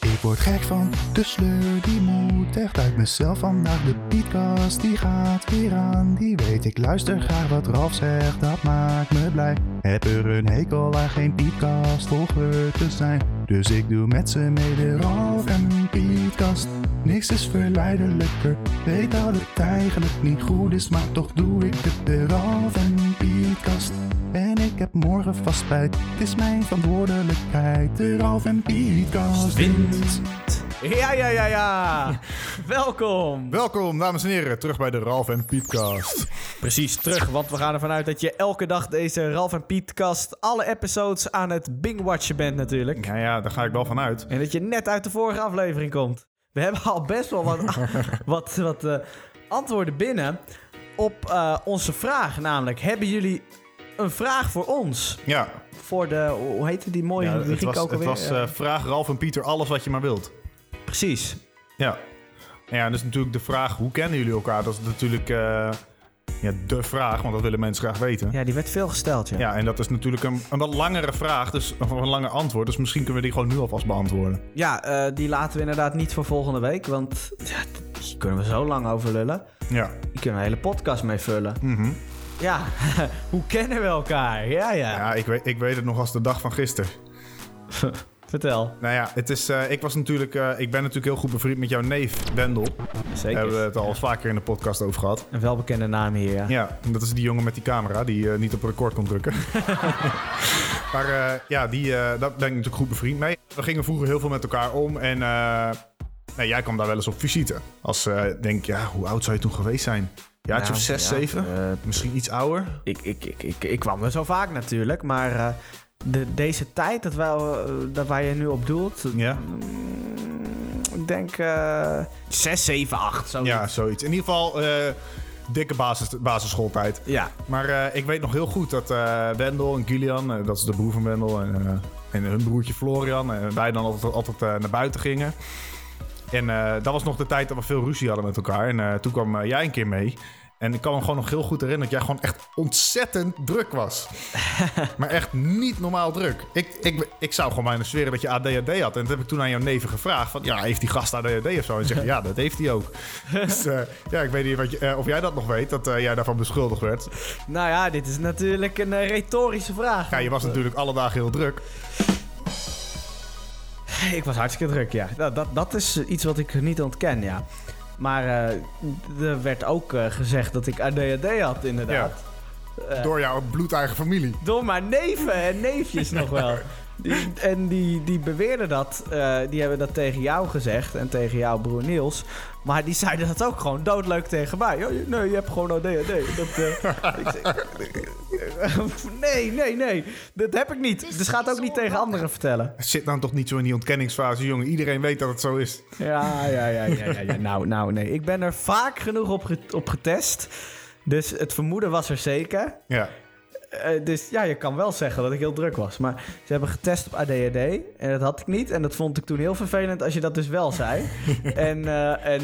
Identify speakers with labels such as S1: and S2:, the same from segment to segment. S1: Ik word gek van de sleur, die moet echt uit mezelf vandaag. De podcast die gaat weer aan, die weet ik luister graag wat Ralf zegt, dat maakt me blij. Heb er een hekel aan geen podcast volger te zijn, dus ik doe met ze mee de Ralf en podcast. Niks is verleidelijker, weet dat het eigenlijk niet goed is, maar toch doe ik het de Ralf en podcast. En ik heb morgen vast spijt, het is mijn verantwoordelijkheid, de Ralf en podcast.
S2: Wind.
S3: Ja, ja, ja, ja. Welkom.
S4: Welkom, dames en heren, terug bij de Ralf en Pietcast.
S3: Precies, terug, want we gaan ervan uit dat je elke dag deze Ralf en Pietkast, alle episodes aan het bingwatchen bent natuurlijk.
S4: Ja, ja, daar ga ik wel van uit.
S3: En dat je net uit de vorige aflevering komt. We hebben al best wel wat, wat, wat eh, antwoorden binnen op eh, onze vraag. Namelijk, hebben jullie een vraag voor ons?
S4: Ja,
S3: Voor de, hoe heette Oh, die mooie
S4: ja het
S3: rubriek
S4: was,
S3: ook
S4: het
S3: alweer?
S4: was
S3: Eh,
S4: eh, vraag Ralf en Pieter alles wat je maar wilt.
S3: precies.
S4: Ja. En Ja, dus natuurlijk de vraag, hoe kennen jullie elkaar? Dat is natuurlijk eh, ja, de vraag, want dat willen mensen graag weten. Ja.
S3: Ja, die werd veel gesteld, ja.
S4: en dat is natuurlijk een, een wat langere vraag, dus, of een langer antwoord. Dus misschien kunnen we die gewoon nu alvast beantwoorden.
S3: Ja, eh, die laten we inderdaad niet voor volgende week, want ja, hier kunnen we zo lang over lullen.
S4: Ja.
S3: Hier kunnen we een hele podcast mee vullen.
S4: Mhm.
S3: Ja, hoe kennen we elkaar? Ja, ja.
S4: Ja, ik weet, ik weet het nog als de dag van gisteren.
S3: Vertel.
S4: Nou ja, het is, eh, ik, was natuurlijk, eh, ik ben natuurlijk heel goed bevriend met jouw neef, Wendel. Daar
S3: Zeker.
S4: hebben we het al vaker in de podcast over gehad.
S3: Een welbekende naam hier, ja.
S4: Ja, en dat is die jongen met die camera die eh, niet op record kon drukken. maar eh, ja, die, eh daar ben ik natuurlijk goed bevriend mee. We gingen vroeger heel veel met elkaar om en eh, nee, jij kwam daar wel eens op visite. Als eh, ik denk, ja, hoe oud zou je toen geweest zijn? Jaartje
S3: Nou,
S4: of zes,
S3: ja,
S4: zeven?
S3: eh,
S4: Misschien iets ouder?
S3: ik, ik, ik, ik, ik kwam er zo vaak natuurlijk, maar eh, de, deze tijd dat, wij, eh, dat waar je nu op doelt, mm,
S4: Ja,
S3: ik denk eh 6, 7, 8. Zo
S4: ja zoiets. In ieder geval... eh, Dikke basis, basisschooltijd.
S3: ja.
S4: Maar eh, ik weet nog heel goed dat eh, Wendel en Julian, eh, dat is de broer van Wendel, en, eh, en hun broertje Florian, en wij dan altijd, altijd eh, naar buiten gingen. En eh, dat was nog de tijd dat we veel ruzie hadden met elkaar. En eh, toen kwam eh, jij een keer mee. En ik kan me gewoon nog heel goed herinneren dat jij gewoon echt ontzettend druk was. maar echt niet normaal druk. Ik, ik, ik zou gewoon bijna zweren dat je ADHD had. En dat heb ik toen aan jouw neven gevraagd. Van, ja, heeft die gast ADHD of zo? En ze zegt, ja, dat heeft hij ook. dus eh, ja, ik weet niet wat je, eh, of jij dat nog weet, dat eh, jij daarvan beschuldigd werd.
S3: Nou ja, dit is natuurlijk een eh, retorische vraag.
S4: Ja, je was natuurlijk alle dagen heel druk.
S3: Ik was hartstikke druk, ja. Dat, dat, dat is eh, iets wat ik niet ontken, ja. Maar eh, er werd ook eh, gezegd dat ik ADHD had, inderdaad. Eh,
S4: Door jouw bloedeigen familie.
S3: door mijn neven en neefjes nog wel. Die- en die, die beweerden dat. eh, die hebben dat tegen jou gezegd en tegen jouw broer Niels. Maar die zeiden dat ook gewoon doodleuk tegen mij. "Ja, je- nee, je hebt gewoon ADHD. Dat, eh, ik zeg, nee, nee, nee. Dat heb ik niet. Dus ga het ook niet tegen anderen vertellen.
S4: Zit dan toch niet zo in die ontkenningsfase, jongen. Iedereen weet dat het zo is.
S3: Ja, ja, ja, ja, ja, ja. Nou, nou, nee. Ik ben er vaak genoeg op, ge- op getest. Dus het vermoeden was er zeker.
S4: Ja,
S3: Eh, dus ja, je kan wel zeggen dat ik heel druk was. Maar ze hebben getest op ADHD. En dat had ik niet. En dat vond ik toen heel vervelend als je dat dus wel zei. en eh, en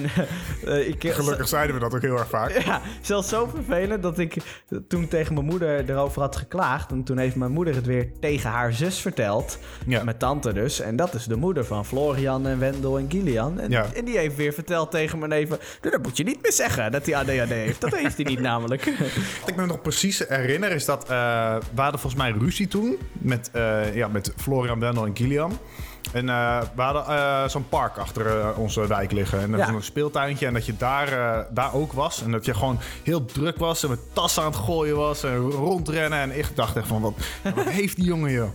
S3: eh, ik...
S4: gelukkig zeiden we dat ook heel erg vaak.
S3: Ja, zelfs zo vervelend dat ik toen tegen mijn moeder erover had geklaagd. En toen heeft mijn moeder het weer tegen haar zus verteld.
S4: Ja.
S3: Mijn tante dus. En dat is de moeder van Florian en Wendel en Gillian. En,
S4: Ja.
S3: en die heeft weer verteld tegen mijn neven... "Nou, Dat moet je niet meer zeggen, dat hij ADHD heeft. Dat heeft hij niet namelijk.
S4: Wat ik me nog precies herinner is dat... eh we hadden volgens mij ruzie toen met, eh, ja, met Florian Wendel en Kilian. En eh, we hadden eh, zo'n park achter eh, onze wijk liggen. En dat
S3: Ja.
S4: was een speeltuintje. En dat je daar, eh, daar ook was. En dat je gewoon heel druk was. En met tassen aan het gooien was. En rondrennen. En ik dacht echt van, wat, wat heeft die jongen joh?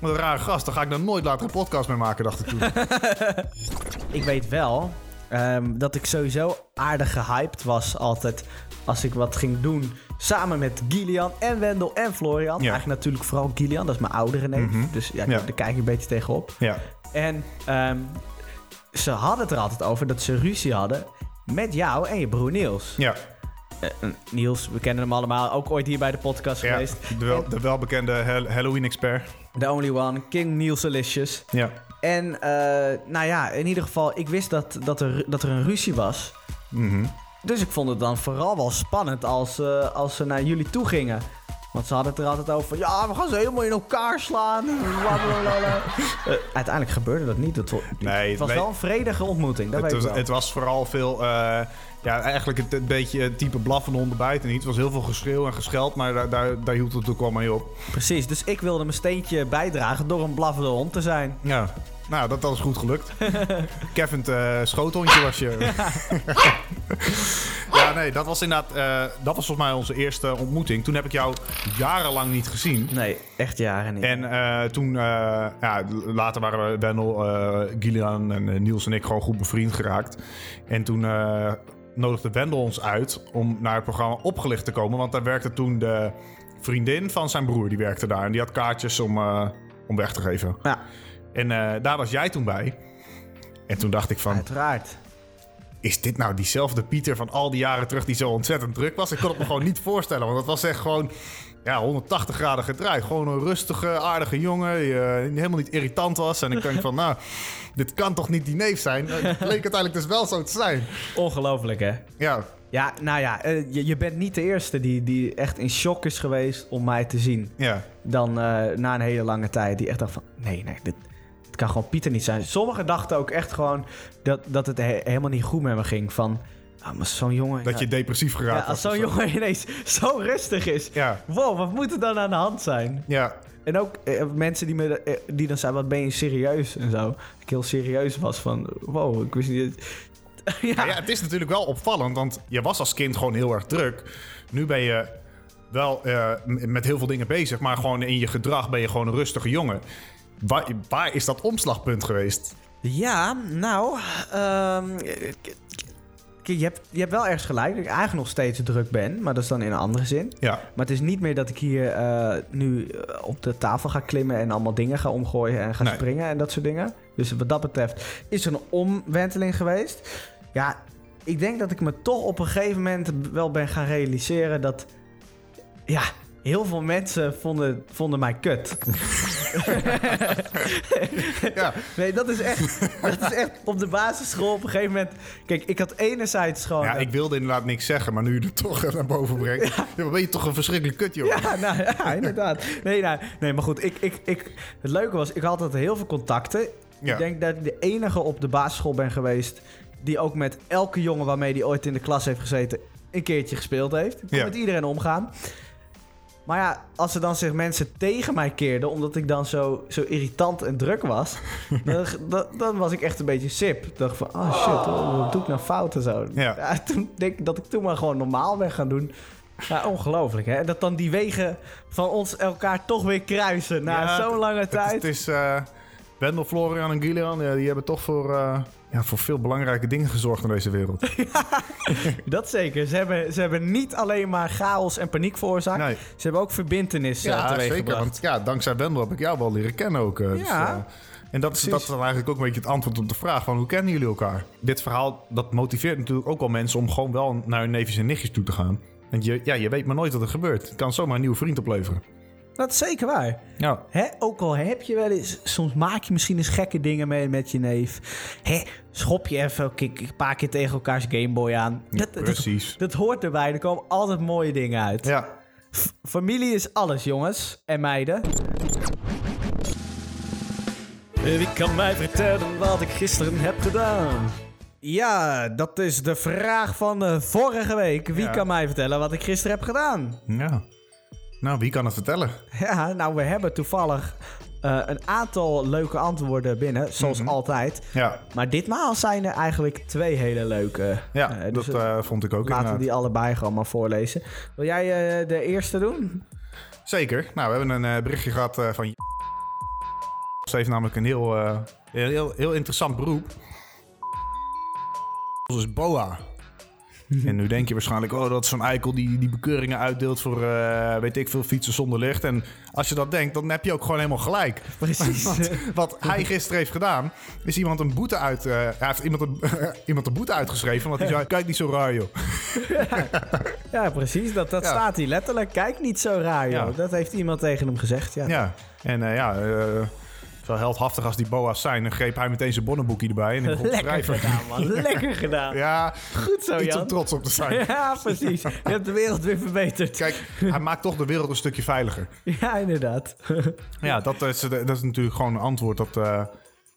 S4: Wat een rare gast. Daar ga ik dan nooit later een podcast mee maken, dacht ik toen.
S3: Ik weet wel ehm, dat ik sowieso aardig gehyped was altijd als ik wat ging doen. Samen met Gillian en Wendel en Florian.
S4: Ja. Mhm.
S3: Eigenlijk natuurlijk vooral Gillian, dat is mijn oudere neef. Dus ja,
S4: Ja.
S3: daar kijk ik een beetje tegenop.
S4: ja.
S3: En ehm, ze hadden het er altijd over dat ze ruzie hadden met jou en je broer Niels.
S4: Ja.
S3: Eh, Niels, we kennen hem allemaal, ook ooit hier bij de podcast
S4: ja.
S3: geweest.
S4: De, wel- de welbekende Hel- Halloween-expert.
S3: The Only One, King Niels Alicious.
S4: Ja.
S3: En eh, nou ja, in ieder geval, ik wist dat, dat, er, dat er een ruzie was.
S4: Mhm.
S3: Dus ik vond het dan vooral wel spannend als, eh, als ze naar jullie toe gingen. Want ze hadden het er altijd over van, ja, we gaan ze helemaal in elkaar slaan. Blablabla. Eh, uiteindelijk gebeurde dat niet. Het, wa-
S4: Nee,
S3: het was
S4: nee.
S3: wel een vredige ontmoeting, dat
S4: Het
S3: weet
S4: was,
S3: ik wel.
S4: het was vooral veel, eh, ja, eigenlijk het, het beetje het type blaffen honden bijten niet. Het was heel veel geschreeuw en gescheld, maar daar, daar, daar hield het ook wel mee op.
S3: Precies, dus ik wilde mijn steentje bijdragen door een blaffende hond te zijn.
S4: Ja. Nou, dat, dat is goed gelukt. Kevin, eh schoothondje was je. ja, nee, dat was inderdaad, eh, dat was volgens mij onze eerste ontmoeting. Toen heb ik jou jarenlang niet gezien.
S3: Nee, echt jaren niet.
S4: En eh, toen, eh, ja, later waren we Wendel, eh Gillian en eh, Niels en ik gewoon goed bevriend geraakt. En toen eh, nodigde Wendel ons uit om naar het programma Opgelicht te komen. Want daar werkte toen de vriendin van zijn broer, die werkte daar. En die had kaartjes om, eh, om weg te geven.
S3: Ja,
S4: En eh, daar was jij toen bij. En toen dacht ik van,
S3: uiteraard.
S4: is dit nou diezelfde Pieter van al die jaren terug die zo ontzettend druk was? Ik kon het me gewoon niet voorstellen, want dat was echt gewoon ja, 180 graden gedraaid. Gewoon een rustige, aardige jongen die eh, helemaal niet irritant was. En ik denk van, nou, dit kan toch niet die neef zijn? Eh, Het leek uiteindelijk dus wel zo te zijn.
S3: Ongelooflijk, hè?
S4: Ja,
S3: Ja, nou ja, eh, je, je bent niet de eerste die, die echt in shock is geweest om mij te zien.
S4: ja.
S3: Dan eh, na een hele lange tijd. Die echt dacht van, nee, nee, dit, dit kan gewoon Pieter niet zijn. Sommigen dachten ook echt gewoon dat, dat het he- helemaal niet goed met me ging. Van, ah, maar zo'n jongen...
S4: dat
S3: ja,
S4: je depressief
S3: ja,
S4: geraakt
S3: als
S4: was.
S3: zo'n
S4: of zo.
S3: jongen ineens zo rustig is.
S4: Ja,
S3: Wow, wat moet er dan aan de hand zijn?
S4: ja.
S3: En ook eh, mensen die, me, eh, die dan zeiden, wat ben je serieus en zo. Dat ik heel serieus was van, wow, ik wist niet... ja,
S4: Nou ja, het is natuurlijk wel opvallend, want je was als kind gewoon heel erg druk. Nu ben je wel eh, m- met heel veel dingen bezig, maar gewoon in je gedrag ben je gewoon een rustige jongen. Waar, waar is dat omslagpunt geweest?
S3: Ja, nou, ehm, k- k- k- je, hebt, je hebt wel ergens gelijk dat ik eigenlijk nog steeds druk ben, maar dat is dan in een andere zin.
S4: Ja,
S3: Maar het is niet meer dat ik hier eh, nu eh, op de tafel ga klimmen en allemaal dingen ga omgooien en ga
S4: Nee.
S3: springen en dat soort dingen. Dus wat dat betreft is er een omwenteling geweest. Ja, ik denk dat ik me toch op een gegeven moment wel ben gaan realiseren dat, ja, heel veel mensen vonden, vonden mij kut.
S4: ja,
S3: Nee, dat is echt. dat is echt op de basisschool op een gegeven moment. Kijk, ik had enerzijds gewoon.
S4: ja, ik wilde inderdaad niks zeggen, maar nu je het toch naar boven brengt, ja. dan ben je toch een verschrikkelijk kut, joh.
S3: Ja, nou, ja, inderdaad. Nee, nou, nee, maar goed. Ik, ik, ik, het leuke was, ik had altijd heel veel contacten.
S4: Ja.
S3: Ik denk dat ik de enige op de basisschool ben geweest. die ook met elke jongen waarmee die ooit in de klas heeft gezeten. een keertje gespeeld heeft. Ik kon
S4: Ja.
S3: met iedereen omgaan. Maar ja, als er dan zich mensen tegen mij keerden. omdat ik dan zo, zo irritant en druk was. dan, dan, dan was ik echt een beetje sip. Ik dacht van, oh shit, oh, wat doe ik nou fout en zo.
S4: Ja.
S3: toen denk ik dat ik toen maar gewoon normaal ben gaan doen. Ja, ongelooflijk hè. En dat dan die wegen van ons elkaar toch weer kruisen na
S4: Ja,
S3: zo'n lange
S4: Het is,
S3: tijd.
S4: het is eh, Wendel, Florian en Gillian, ja, die hebben toch voor, eh, ja, voor veel belangrijke dingen gezorgd in deze wereld.
S3: Dat zeker. Ze hebben, ze hebben niet alleen maar chaos en paniek veroorzaakt.
S4: Nee.
S3: Ze hebben ook verbintenis eh,
S4: Ja, zeker.
S3: teweeggebracht.
S4: Want ja, dankzij Wendel heb ik jou wel leren kennen ook. eh, dus,
S3: Ja.
S4: eh, en dat is, dat
S3: Precies.
S4: is dan eigenlijk ook een beetje het antwoord op de vraag van hoe kennen jullie elkaar? Dit verhaal dat motiveert natuurlijk ook wel mensen om gewoon wel naar hun neefjes en nichtjes toe te gaan. Want je, ja, je weet maar nooit wat er gebeurt. Het kan zomaar een nieuwe vriend opleveren.
S3: Dat is zeker waar.
S4: Ja.
S3: Hè, ook al heb je wel eens, soms maak je misschien eens gekke dingen mee met je neef. Hè, schop je even een keer- een paar keer tegen elkaars Gameboy aan. Dat, dat-
S4: Precies.
S3: dat hoort erbij, er komen altijd mooie dingen uit.
S4: Ja.
S3: F- Familie is alles, jongens en meiden. Wie kan mij vertellen wat ik gisteren heb gedaan? Ja, dat is de vraag van eh, vorige week. Wie
S4: Ja.
S3: kan mij vertellen wat ik gisteren heb gedaan?
S4: ja. Nou, wie kan het vertellen?
S3: Ja, nou, we hebben toevallig eh, een aantal leuke antwoorden binnen, zoals altijd.
S4: Ja,
S3: Maar ditmaal zijn er eigenlijk twee hele leuke.
S4: ja
S3: Eh,
S4: dat
S3: dus eh,
S4: eh, vond ik ook
S3: laten we
S4: inderdaad.
S3: die allebei gewoon maar voorlezen. Wil jij eh, de eerste doen?
S4: Zeker. Nou, we hebben een eh, berichtje gehad eh, van... Ze heeft namelijk een heel, eh, heel, heel, heel interessant beroep. Dat is boa. En nu denk je waarschijnlijk, oh, dat is zo'n eikel die, die bekeuringen uitdeelt voor, eh, weet ik veel, fietsen zonder licht. En als je dat denkt, dan heb je ook gewoon helemaal gelijk.
S3: Precies.
S4: Want wat hij gisteren heeft gedaan, is iemand een boete uit... eh, hij heeft iemand een, iemand een boete uitgeschreven, want hij zei, kijk niet zo raar, joh.
S3: ja, precies. Dat, dat
S4: Ja.
S3: staat hier letterlijk. Kijk niet zo raar, joh.
S4: Ja.
S3: Dat heeft iemand tegen hem gezegd, ja.
S4: Ja, en eh, ja, eh, Zo heldhaftig als die boa's zijn, dan greep hij meteen zijn bonnenboekje erbij en ik begon te
S3: Lekker
S4: schrijven.
S3: gedaan, man. Lekker gedaan.
S4: Ja,
S3: Goed zo,
S4: iets om
S3: Jan.
S4: trots op te zijn.
S3: Ja, precies. Je hebt de wereld weer verbeterd.
S4: Kijk, hij maakt toch de wereld een stukje veiliger.
S3: Ja, inderdaad.
S4: Ja, dat is, dat is natuurlijk gewoon een antwoord dat... eh,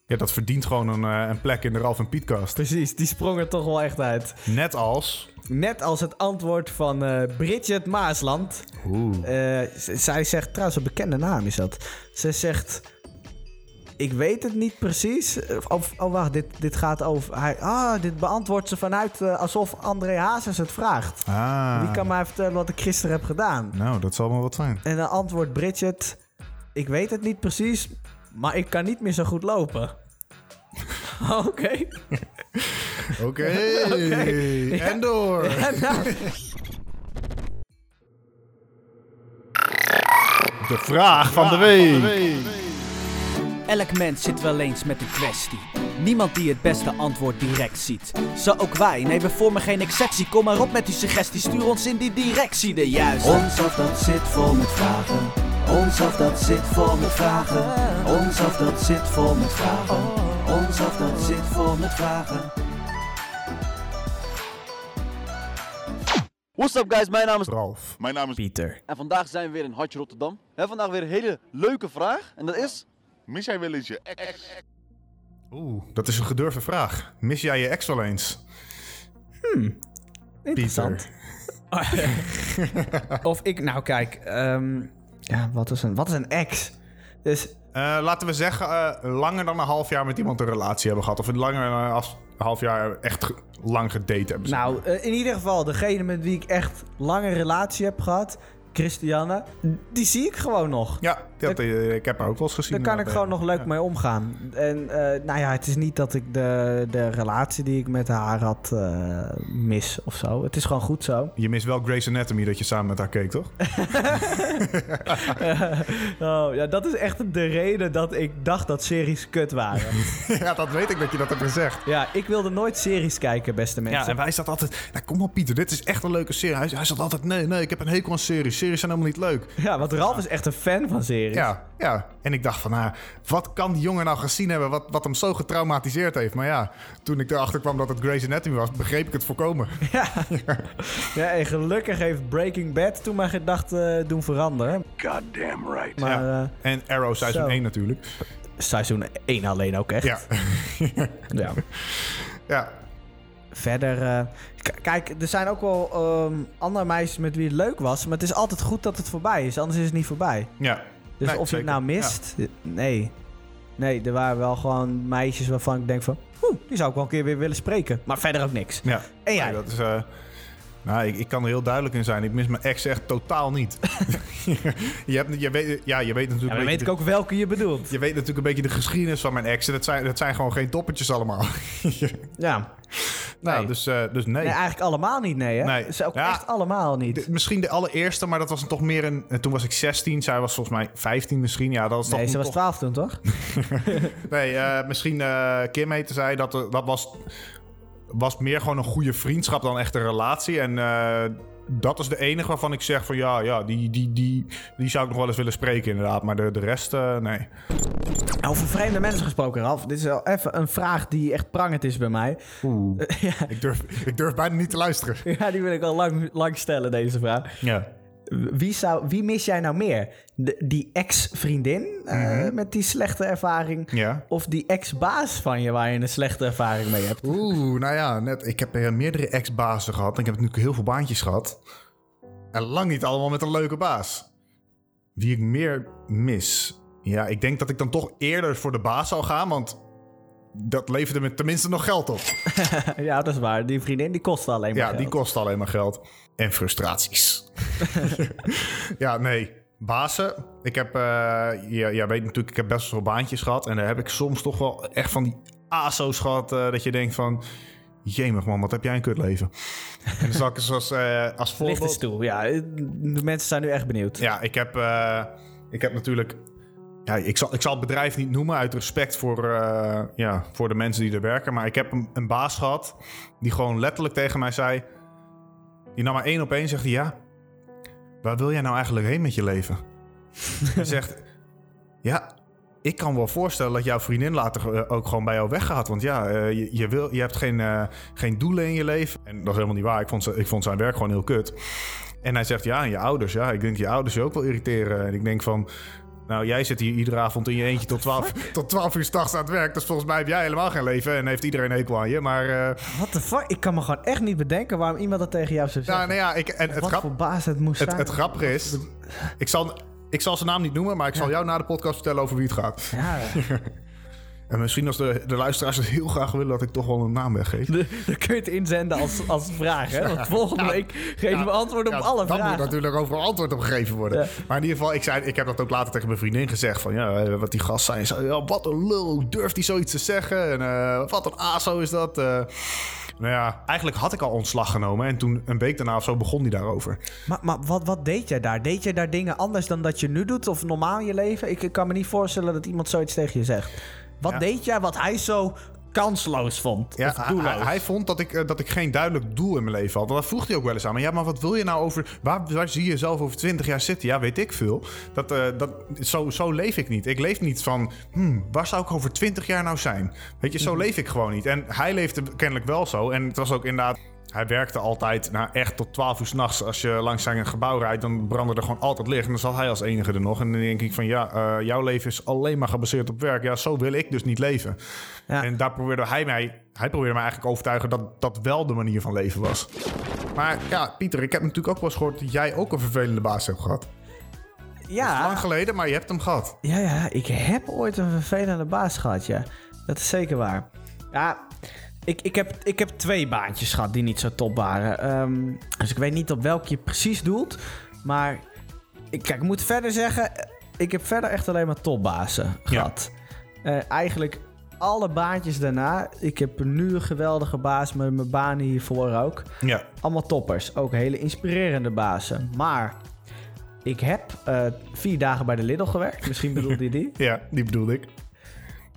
S4: ja, dat verdient gewoon een, eh, een plek in de Ralf en Pietkast.
S3: Precies, die sprong er toch wel echt uit.
S4: Net als...
S3: Net als het antwoord van eh, Bridget Maasland.
S4: Oeh.
S3: Eh, z- zij zegt, trouwens een bekende naam is dat. Ze zegt, ik weet het niet precies. Of, oh wacht, dit, dit gaat over... Hij, ah, dit beantwoordt ze vanuit eh, alsof André Hazes het vraagt.
S4: Ah.
S3: Wie kan mij vertellen wat ik gisteren heb gedaan?
S4: Nou, dat zal wel wat zijn.
S3: En dan antwoordt Bridget, ik weet het niet precies, maar ik kan niet meer zo goed lopen. Oké.
S4: Oké. En door. De vraag van de week.
S2: Elk mens zit wel eens met een kwestie. Niemand die het beste antwoord direct ziet. Zo ook wij, nee we vormen geen exceptie. Kom maar op met uw suggestie, stuur ons in die directie de juiste. Ons af dat zit vol met vragen. Ons af dat zit vol met vragen. Ons af dat zit vol met vragen. Ons af dat zit vol met vragen. What's up guys, mijn naam is...
S4: Ralf.
S5: Mijn naam is
S3: Pieter.
S2: En vandaag zijn we weer in Hartje Rotterdam. Hebben vandaag weer een hele leuke vraag. En dat is...
S5: Mis jij wel eens je ex?
S4: Oeh, dat is een gedurfde vraag. Mis jij je ex wel eens?
S3: Interessant. of ik, nou kijk, ehm, ja, wat, is een, wat is een ex? Dus
S4: Eh, laten we zeggen, eh, langer dan een half jaar met iemand een relatie hebben gehad. Of langer dan als een half jaar echt ge- lang gedate hebben.
S3: nou, eh, in ieder geval, degene met wie ik echt lange relatie heb gehad, Christiane, die zie ik gewoon nog.
S4: Ja, dat, eh, ik heb haar ook wel eens gezien.
S3: Daar kan ik
S4: inderdaad,
S3: gewoon
S4: ja.
S3: nog leuk mee omgaan. En eh, nou ja, het is niet dat ik de, de relatie die ik met haar had eh, mis of zo. Het is gewoon goed zo.
S4: Je mist wel Grey's Anatomy dat je samen met haar keek, toch?
S3: Oh, ja, dat is echt de reden dat ik dacht dat series kut waren.
S4: ja, dat weet ik dat je dat hebt gezegd.
S3: ja, ik wilde nooit series kijken, beste
S4: Ja,
S3: mensen.
S4: en wij zat altijd... Nou, kom op Pieter, dit is echt een leuke serie. Hij, hij zat altijd, nee, nee, ik heb een hekel aan series. Series zijn helemaal niet leuk.
S3: Ja, want Ralf is echt een fan van series.
S4: Ja, ja. En ik dacht van, nou, wat kan die jongen nou gezien hebben... Wat, wat hem zo getraumatiseerd heeft? Maar ja, toen ik erachter kwam dat het Grey's Anatomy was... begreep ik het voorkomen.
S3: Ja, en gelukkig heeft Breaking Bad toen mijn gedachten eh, doen veranderen.
S5: Goddamn right.
S3: Maar
S4: Ja.
S3: eh,
S4: En Arrow seizoen
S3: Zo.
S4: 1 natuurlijk.
S3: seizoen 1 alleen ook echt.
S4: Ja,
S3: Ja.
S4: ja.
S3: Verder, eh, k- kijk, er zijn ook wel ehm, andere meisjes met wie het leuk was. Maar het is altijd goed dat het voorbij is, anders is het niet voorbij.
S4: ja.
S3: Dus
S4: Nee,
S3: of je
S4: zeker.
S3: het nou mist, eh, nee. Nee, er waren wel gewoon meisjes waarvan ik denk van... Oeh, die zou ik wel een keer weer willen spreken. Maar verder ook niks.
S4: Ja.
S3: En jij?
S4: Nee, dat is... eh, nou, ik, ik kan er heel duidelijk in zijn. Ik mis mijn ex echt totaal niet. je, hebt, je, weet, ja, je weet natuurlijk... een
S3: Ja, dan
S4: beetje
S3: weet
S4: de-
S3: ik ook welke je bedoelt.
S4: Je weet natuurlijk een beetje de geschiedenis van mijn ex. En dat zijn, dat zijn gewoon geen toppetjes allemaal.
S3: Ja.
S4: nou,
S3: Nee.
S4: dus, eh, dus nee.
S3: Nee, eigenlijk allemaal niet, nee hè?
S4: Nee.
S3: Ze ook
S4: Ja.
S3: echt allemaal niet.
S4: De- misschien de allereerste, maar dat was dan toch meer een... eh, Toen was ik 16, zij was volgens mij 15 misschien. Ja, dat was
S3: nee,
S4: toch,
S3: ze was
S4: toch-
S3: 12 toen, toch?
S4: Nee, eh, misschien eh, Kim heette zij. Dat, eh, dat was, was meer gewoon een goede vriendschap dan echt een relatie. En eh, dat is de enige waarvan ik zeg van... Ja, ja die, die, die, die zou ik nog wel eens willen spreken inderdaad. Maar de, de rest, eh, nee.
S3: Over vreemde mensen gesproken, Ralf. Dit is wel even een vraag die echt prangend is bij mij.
S4: Ik durf, ik durf bijna niet te luisteren.
S3: Ja, die wil ik al lang, lang stellen, deze vraag.
S4: Ja.
S3: Wie, zou, wie mis jij nou meer? De- die ex-vriendin eh, met die slechte ervaring?
S4: Ja.
S3: Of die ex-baas van je waar je een slechte ervaring mee hebt?
S4: Oeh, nou ja, net, ik heb eh, meerdere ex-bazen gehad. En ik heb natuurlijk heel veel baantjes gehad. En lang niet allemaal met een leuke baas. Wie ik meer mis. Ja, ik denk dat ik dan toch eerder voor de baas zou gaan. Want dat leverde me tenminste nog geld op.
S3: ja, dat is waar. Die vriendin die kostte alleen maar
S4: Ja, die
S3: geld.
S4: kost alleen maar geld. En frustraties. ja, nee. Bazen. Ik heb, eh ja, ja, weet natuurlijk, ik heb best wel veel baantjes gehad. En daar heb ik soms toch wel echt van die ASO's gehad. eh, dat je denkt van, jemig man, wat heb jij een kut leven. en dan zal ik eens als, eh, als
S3: Ligt de
S4: voorbeeld...
S3: stoel, ja. De mensen zijn nu echt benieuwd.
S4: Ja, ik heb, eh, ik heb natuurlijk... Ja, ik, zal, ik zal het bedrijf niet noemen uit respect voor, eh, ja, voor de mensen die er werken. Maar ik heb een, een baas gehad die gewoon letterlijk tegen mij zei... Die nam maar één op één zegt hij... Ja, waar wil jij nou eigenlijk heen met je leven? Hij zegt... Ja, ik kan wel voorstellen dat jouw vriendin later eh, ook gewoon bij jou weggaat. Want ja, eh, je, je, wil, je hebt geen, eh, geen doelen in je leven. En dat is helemaal niet waar. Ik vond, ze- ik vond zijn werk gewoon heel kut. En hij zegt, ja, en je ouders. Ja, ik denk je ouders je ook wel irriteren. En ik denk van... Nou, jij zit hier iedere avond in je eentje tot 12, tot 12 uur s'nachts aan het werk. Dus volgens mij heb jij helemaal geen leven en heeft iedereen een hekel aan je. Maar eh,
S3: What the fuck? Ik kan me gewoon echt niet bedenken waarom iemand dat tegen jou zou
S4: ja,
S3: zeggen.
S4: nou ja, ik, en het,
S3: Wat
S4: grap,
S3: voor baas het moest
S4: het,
S3: zijn.
S4: het grappige is... Ik zal, ik zal zijn naam niet noemen, maar ik zal jou na de podcast vertellen over wie het gaat.
S3: Ja,
S4: En misschien als de, de luisteraars het heel graag willen dat ik toch wel een naam weggeef.
S3: dan kun je het inzenden als, als vraag, hè? Want volgende week geven we antwoord op
S4: Ja,
S3: alle
S4: dan
S3: vragen.
S4: moet natuurlijk overal antwoord op gegeven worden.
S3: Ja.
S4: Maar in ieder geval, ik, zei, ik heb dat ook later tegen mijn vriendin gezegd. Van ja, eh, wat die gast zei. Zo, ja, wat een lul, hoe durft hij zoiets te zeggen? En eh, wat een aso is dat? Eh, nou ja, eigenlijk had ik al ontslag genomen. En toen een week daarna of zo begon hij daarover.
S3: Maar, maar wat, wat deed jij daar? Deed jij daar dingen anders dan dat je nu doet? Of normaal in je leven? Ik, ik kan me niet voorstellen dat iemand zoiets tegen je zegt. Wat
S4: Ja.
S3: deed jij wat hij zo kansloos vond?
S4: Ja,
S3: of
S4: hij,
S3: doelloos?
S4: hij- hij vond dat ik, eh, dat ik geen duidelijk doel in mijn leven had. Want dat vroeg hij ook wel eens aan. Maar ja, maar wat wil je nou over... Waar, waar zie je jezelf over 20 jaar zitten? Ja, weet ik veel. Dat, eh, dat, zo, zo leef ik niet. Ik leef niet van... hmm, waar zou ik over 20 jaar nou zijn? Weet je,
S3: Mhm.
S4: zo leef ik gewoon niet. En hij leefde kennelijk wel zo. En het was ook inderdaad... Hij werkte altijd nou, echt tot 12 uur s'nachts. Als je langs zijn gebouw rijdt, dan brandde er gewoon altijd licht. En dan zat hij als enige er nog. En dan denk ik van ja, eh, jouw leven is alleen maar gebaseerd op werk. Ja, zo wil ik dus niet leven.
S3: Ja.
S4: En daar probeerde hij mij, hij probeerde mij eigenlijk overtuigen dat dat wel de manier van leven was. Maar ja, Pieter, ik heb natuurlijk ook wel eens gehoord dat jij ook een vervelende baas hebt gehad.
S3: ja,
S4: Lang geleden, maar je hebt hem gehad.
S3: ja, ja, ik heb ooit een vervelende baas gehad, ja. Dat is zeker waar. Ja, ik, ik, heb, ik heb twee baantjes gehad die niet zo top waren. Ehm, dus ik weet niet op welke je precies doelt. Maar ik, kijk, ik moet verder zeggen... Ik heb verder echt alleen maar topbazen gehad. Eh, eigenlijk alle baantjes daarna. Ik heb nu een geweldige baas met mijn banen hiervoor ook.
S4: Ja.
S3: Allemaal toppers. Ook hele inspirerende bazen. Maar ik heb eh, vier dagen bij de Lidl gewerkt. Misschien bedoelde je die.
S4: Ja, die bedoelde ik.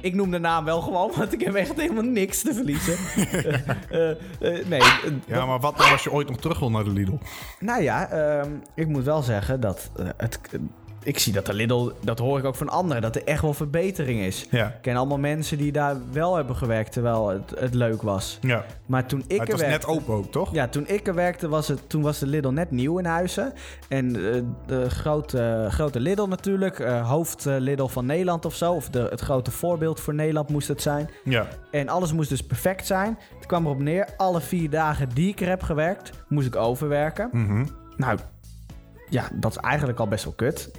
S3: Ik noem de naam wel gewoon, want ik heb echt helemaal niks te verliezen. Eh, eh, eh, nee, eh,
S4: Ja, maar wat nou als je ooit nog terug wil naar de Lidl?
S3: nou ja, ehm, ik moet wel zeggen dat eh, het, ik zie dat de Lidl, dat hoor ik ook van anderen, dat er echt wel verbetering is.
S4: Ja.
S3: Ik ken allemaal mensen die daar wel hebben gewerkt terwijl het, het leuk was.
S4: Ja.
S3: Maar toen ik
S4: Maar het
S3: er
S4: was net
S3: werkte...
S4: open ook, toch?
S3: Ja, toen ik er werkte, was het, toen was de Lidl net nieuw in Huizen. En eh, de grote, grote Lidl natuurlijk, eh, hoofd eh, Lidl van Nederland of zo. Of de, het grote voorbeeld voor Nederland moest het zijn.
S4: Ja.
S3: En alles moest dus perfect zijn. Het kwam erop neer, alle vier dagen die ik er heb gewerkt, moest ik overwerken.
S4: Mhm.
S3: Nou, ja, dat is eigenlijk al best wel kut.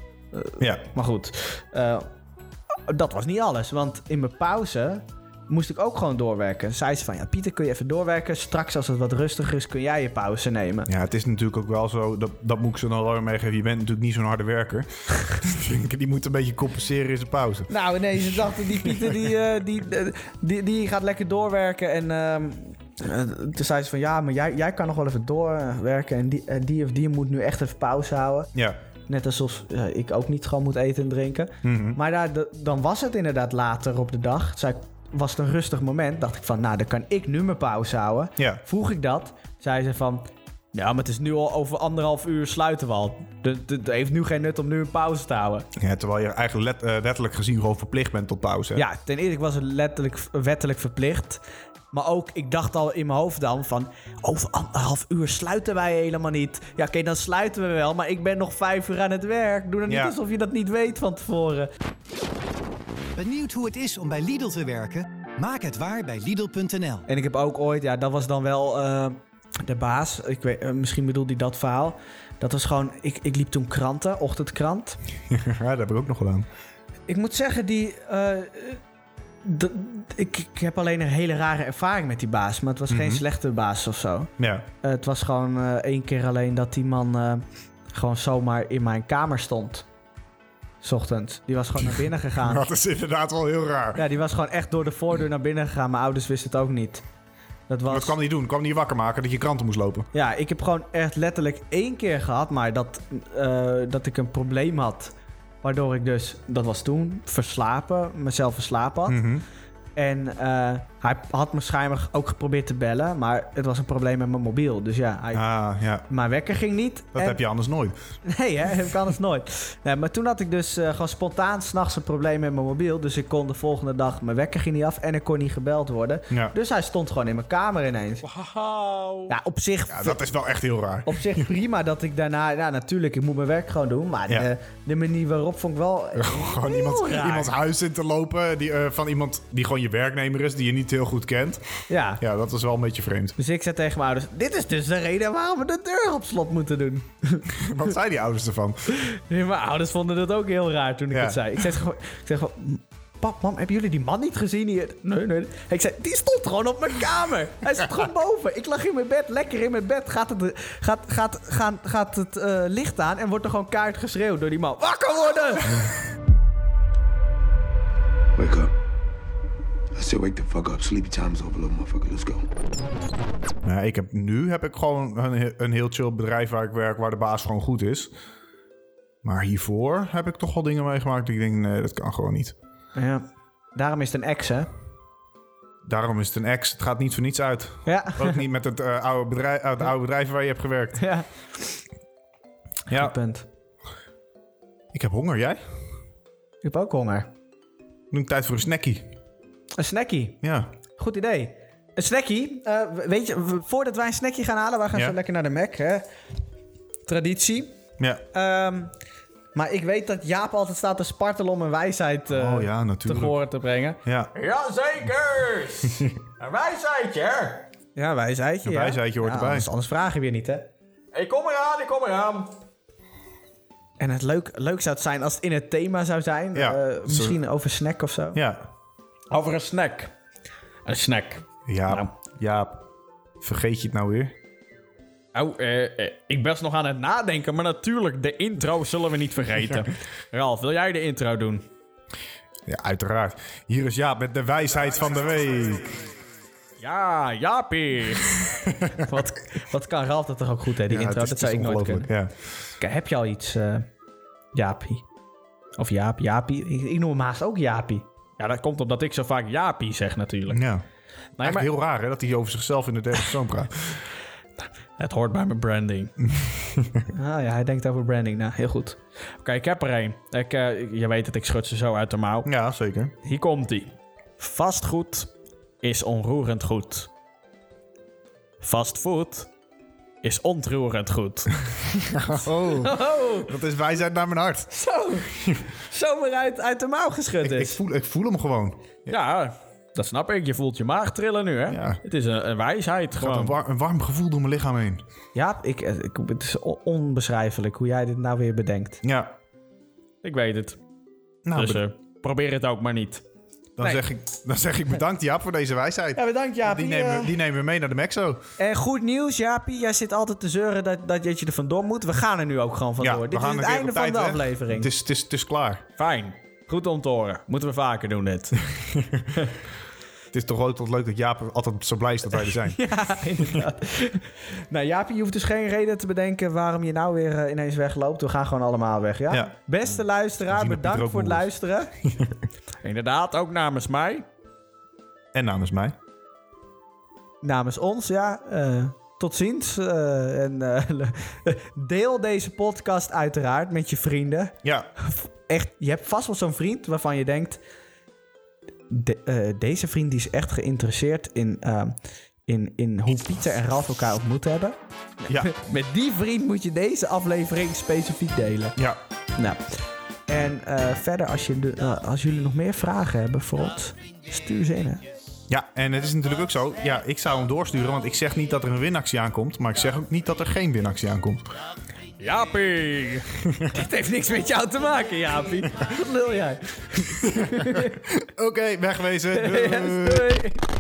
S4: Ja.
S3: Maar goed, eh, dat was niet alles. Want in mijn pauze moest ik ook gewoon doorwerken. Zei ze van, ja Pieter, kun je even doorwerken? Straks als het wat rustiger is, kun jij je pauze nemen.
S4: Ja, het is natuurlijk ook wel zo, dat, dat moet ik ze dan wel weer meegeven. Je bent natuurlijk niet zo'n harde werker. die moet een beetje compenseren in zijn pauze.
S3: Nou, ineens ze dachten die Pieter die, eh, die, eh, die, die gaat lekker doorwerken. En ehm, eh, toen zei ze van ja, maar jij, jij kan nog wel even doorwerken. En die, eh, die of die moet nu echt even pauze houden.
S4: Ja.
S3: Net alsof eh, ik ook niet gewoon moet eten en drinken.
S4: Mhm.
S3: Maar daar, de- dan was het inderdaad later op de dag. Zei, ik, was het een rustig moment. Dacht ik van nou, dan kan ik nu mijn pauze houden.
S4: Ja.
S3: Vroeg ik dat, zei ze van... Ja, maar het is nu al over anderhalf uur sluiten we al. De- de- Het heeft nu geen nut om nu een pauze te houden.
S4: ja. Terwijl je eigenlijk let- eh, wettelijk gezien gewoon verplicht bent tot pauze. hè?
S3: Ja, ten eerste was het letterlijk wettelijk verplicht. Maar ook, ik dacht al in mijn hoofd dan van... over anderhalf uur sluiten wij helemaal niet. Ja, oké, dan sluiten we wel, maar ik ben nog vijf uur aan het werk. Doe dan
S4: Ja.
S3: niet alsof je dat niet weet van tevoren.
S6: Benieuwd hoe het is om bij Lidl te werken? Maak het waar bij Lidl.nl.
S3: En ik heb ook ooit, ja, dat was dan wel eh, de baas. Ik weet, eh, misschien bedoelde hij dat verhaal. Dat was gewoon, ik, ik liep toen kranten, ochtendkrant.
S4: ja, dat heb ik ook nog gedaan.
S3: Ik moet zeggen, die. eh, d- ik, ik heb alleen een hele rare ervaring met die baas. Maar het was geen slechte baas of zo.
S4: Ja.
S3: Eh, het was gewoon eh, één keer alleen dat die man eh, gewoon zomaar in mijn kamer stond. 's ochtends. Die was gewoon naar binnen gegaan.
S4: Dat is inderdaad wel heel raar.
S3: Ja, die was gewoon echt door de voordeur naar binnen gegaan. Mijn ouders wisten het ook niet. Dat was.
S4: Wat kwam die doen? Kwam die wakker maken dat je kranten moest lopen?
S3: Ja, ik heb gewoon echt letterlijk één keer gehad, maar dat, eh, dat ik een probleem had. Waardoor
S4: Hmm. Mhm.
S3: ik dus, dat was toen, verslapen, mezelf verslapen had. En eh, Hij had me schijnbaar ook geprobeerd te bellen, maar het was een probleem met mijn mobiel. Dus ja, hij,
S4: Ah, ja.
S3: mijn wekker ging niet.
S4: Dat
S3: En-
S4: heb je anders nooit.
S3: Nee, hè? ik kan het nooit. Nee, maar toen had ik dus eh, gewoon spontaan s'nachts een probleem met mijn mobiel. Dus ik kon de volgende dag, mijn wekker ging niet af en ik kon niet gebeld worden.
S4: Ja.
S3: Dus hij stond gewoon in mijn kamer ineens. Ja, op zich,
S4: Ja, dat is wel echt heel raar.
S3: op zich prima dat ik daarna... Ja, natuurlijk, ik moet mijn werk gewoon doen. Maar
S4: Ja.
S3: de, de manier waarop vond ik wel... eh,
S4: Gewoon iemand,
S3: raar.
S4: iemands huis in te lopen die, eh, van iemand die gewoon je werknemer is, die je niet heel goed kent.
S3: Ja.
S4: Ja, dat is wel een beetje vreemd.
S3: Dus ik zei tegen mijn ouders, dit is dus de reden waarom we de deur op slot moeten doen.
S4: Wat zijn die ouders ervan?
S3: Nee, mijn ouders vonden dat ook heel raar toen ik
S4: Ja.
S3: het zei. Ik zei gewoon, ik zei gewoon pap, mam, hebben jullie die man niet gezien hier? Nee, nee. Ik zei, die stond gewoon op mijn kamer. Hij zat gewoon boven. Ik lag in mijn bed, lekker in mijn bed. Gaat het, gaat, gaat, gaan, gaat het eh, licht aan en wordt er gewoon kaart geschreeuwd door die man. Wakker worden!
S7: Wake up. I said, wake the fuck up. Sleepy time's over, little motherfucker. Let's go.
S4: Nou, ik heb, nu heb ik gewoon een, he- een heel chill bedrijf waar ik werk, waar de baas gewoon goed is. Maar hiervoor heb ik toch wel dingen meegemaakt die ik denk, nee, dat kan gewoon niet.
S3: Ja, daarom is het een ex, hè?
S4: Daarom is het een ex. Het gaat niet voor niets uit.
S3: Ja.
S4: Ook niet met het, eh, oude bedrijf, het oude bedrijf waar je hebt gewerkt.
S3: Ja,
S4: Ja,
S3: punt.
S4: ik heb honger. Jij?
S3: Ik heb ook honger.
S4: Nu tijd voor een snackie.
S3: Een snackie.
S4: Ja.
S3: Goed idee. Een snackie. Eh, weet je, v- voordat wij een snackie gaan halen, wij gaan
S4: Ja.
S3: zo lekker naar de Mac, hè? Traditie.
S4: Ja.
S3: Ehm, maar ik weet dat Jaap altijd staat te spartelen om een wijsheid eh,
S4: Oh ja,
S3: te
S4: natuurlijk.
S3: horen te brengen.
S4: Ja.
S3: Jazekers! een wijsheidje! Ja, wijsheidje.
S4: Een
S3: ja.
S4: wijsheidje hoort
S3: Ja,
S4: erbij.
S3: Anders, anders vragen we weer niet, hè? Ik kom eraan, ik kom eraan. En het leuk, leuk zou het zijn als het in het thema zou zijn.
S4: Ja,
S3: Eh,
S4: zo-
S3: misschien over snack of zo.
S4: Ja.
S3: Over een snack. Een snack. Nou.
S4: Jaap. Jaap. Vergeet je het nou weer?
S3: Oh, eh, eh, ik best nog aan het nadenken, maar natuurlijk, de intro zullen we niet vergeten. Ralf, wil jij de intro doen?
S4: Ja, uiteraard. Hier is Jaap met de wijsheid van de week.
S3: Ja, Jaapie. wat, wat kan Ralf dat toch ook goed, hè, die
S4: Ja,
S3: intro?
S4: het
S3: dat
S4: is- het
S3: zou
S4: is
S3: ik nooit
S4: ongelooflijk,
S3: kunnen.
S4: Ja.
S3: Kijk, heb je al iets, eh Jaapie? Of Jaap, Jaapie? Ik, ik noem hem haast ook Jaapie. Ja, dat komt omdat ik zo vaak Jaapie zeg natuurlijk.
S4: Ja.
S3: Nee,
S4: Echt
S3: maar
S4: heel raar hè, dat hij over zichzelf in de derde persoon praat.
S3: Het hoort bij mijn branding. ah ja, hij denkt over branding. Nou, heel goed. Oké, ik heb er één. Ik, eh, je weet het, ik schud ze zo uit de mouw.
S4: Ja, zeker.
S3: Hier komt ie. Vastgoed is onroerend goed. Fastfood is ontroerend goed.
S4: Oh, dat is wijsheid naar mijn hart.
S3: Zo! Zomaar uit, uit de mouw geschud
S4: Ik voel, ik voel hem gewoon. Het
S3: Ja, dat snap ik. Je voelt je maag trillen nu, hè?
S4: Ja.
S3: Het is een, een wijsheid
S4: gaat een,
S3: gewoon.
S4: war- een warm gevoel door mijn lichaam heen.
S3: Ja, ik, eh, ik, het is on- onbeschrijfelijk hoe jij dit nou weer bedenkt.
S4: Ja.
S8: Ik weet het.
S4: Nou,
S8: dus
S4: be-
S8: eh, probeer het ook maar niet.
S3: eh,
S4: dan, zeg ik, dan zeg ik bedankt Jaap voor deze wijsheid.
S3: Ja, bedankt eh, Jaapie.
S4: die, nemen, we- die nemen we mee naar de Mexo.
S3: En goed nieuws, Jaapie. Jij zit altijd te zeuren dat, dat, dat je er vandoor moet. We gaan er nu ook gewoon vandoor.
S4: we
S3: Dit is
S4: gaan
S3: het
S4: een keer op
S3: einde
S4: tijd,
S3: van de
S4: hè?
S3: aflevering.
S4: Het is, het, is, het is klaar.
S8: Fijn. Goed om te horen. Moeten we vaker doen dit.
S4: Het is toch ook tot leuk dat Jaap altijd zo blij is dat wij er zijn.
S3: Ja, inderdaad. nou, Jaapie, je hoeft dus geen reden te bedenken waarom je nou weer eh, ineens wegloopt. We gaan gewoon allemaal weg, ja?
S4: Ja.
S3: Beste
S4: We
S3: luisteraar,
S4: zien dat Pieter
S3: bedankt
S4: ook
S3: voor het
S4: moe is.
S3: luisteren.
S8: Inderdaad, ook namens mij.
S4: En namens mij.
S3: Namens ons, ja. eh, tot ziens. eh, en eh, le- deel deze podcast uiteraard met je vrienden.
S4: Ja,
S3: Echt, je hebt vast wel zo'n vriend waarvan je denkt... de- eh, deze vriend die is echt geïnteresseerd in, ehm, in, in hoe Pieter en Ralf elkaar ontmoet hebben.
S4: ja,
S3: Met die vriend moet je deze aflevering specifiek delen.
S4: ja.
S3: Nou. En eh, verder, als, je de- eh, als jullie nog meer vragen hebben voor ons, stuur ze in. Hè?
S4: Ja, en het is natuurlijk ook zo. Ja, ik zou hem doorsturen, want ik zeg niet dat er een winactie aankomt. Maar ik zeg ook niet dat er geen winactie aankomt.
S8: Jaapie.
S3: Het heeft niks met jou te maken, Jaapie. Wat lul jij?
S4: Oké, wegwezen. Doei.
S3: Yes, Eh, doei.